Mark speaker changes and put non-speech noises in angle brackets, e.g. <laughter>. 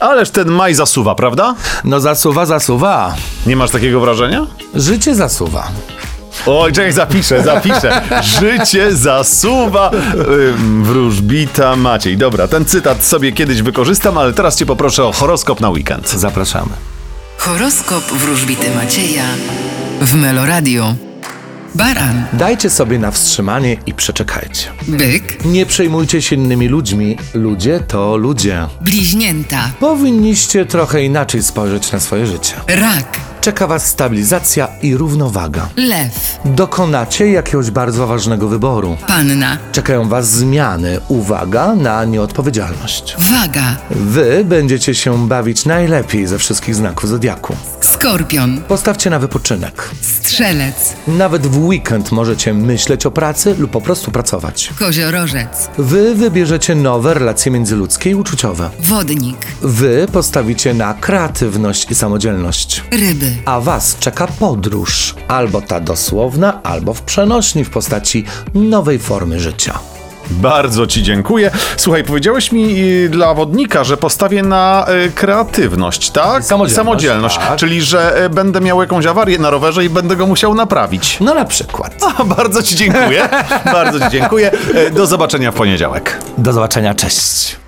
Speaker 1: Ależ ten maj zasuwa, prawda?
Speaker 2: No zasuwa, zasuwa.
Speaker 1: Nie masz takiego wrażenia?
Speaker 2: Życie zasuwa.
Speaker 1: Oj, czekaj, zapiszę, zapiszę. Życie zasuwa. Ym, Wróżbita Maciej. Dobra, ten cytat sobie kiedyś wykorzystam, ale teraz cię poproszę o horoskop na weekend.
Speaker 2: Zapraszamy.
Speaker 3: Horoskop wróżbity Macieja w Meloradio. Baran,
Speaker 2: Dajcie sobie na wstrzymanie i przeczekajcie.
Speaker 3: byk,
Speaker 2: Nie przejmujcie się innymi ludźmi. Ludzie to ludzie.
Speaker 3: bliźnięta,
Speaker 2: Powinniście trochę inaczej spojrzeć na swoje życie.
Speaker 3: rak,
Speaker 2: Czeka Was stabilizacja i równowaga.
Speaker 3: lew,
Speaker 2: Dokonacie jakiegoś bardzo ważnego wyboru.
Speaker 3: panna,
Speaker 2: Czekają Was zmiany. Uwaga na nieodpowiedzialność.
Speaker 3: waga,
Speaker 2: Wy będziecie się bawić najlepiej ze wszystkich znaków zodiaku.
Speaker 3: skorpion,
Speaker 2: Postawcie na wypoczynek.
Speaker 3: strzelec,
Speaker 2: Nawet w weekend możecie myśleć o pracy lub po prostu pracować.
Speaker 3: koziorożec,
Speaker 2: Wy wybierzecie nowe relacje międzyludzkie i uczuciowe.
Speaker 3: wodnik,
Speaker 2: Wy postawicie na kreatywność i samodzielność.
Speaker 3: ryby,
Speaker 2: A Was czeka podróż, albo ta dosłowna, albo w przenośni w postaci nowej formy życia.
Speaker 1: Bardzo ci dziękuję. Słuchaj, powiedziałeś mi y, dla wodnika, że postawię na y, kreatywność, tak?
Speaker 2: Samodzielność,
Speaker 1: Samodzielność
Speaker 2: tak.
Speaker 1: czyli że y, będę miał jakąś awarię na rowerze i będę go musiał naprawić. <laughs>
Speaker 2: No na przykład.
Speaker 1: A, bardzo ci dziękuję. bardzo ci dziękuję. Y, Do zobaczenia w poniedziałek.
Speaker 2: Do zobaczenia, cześć.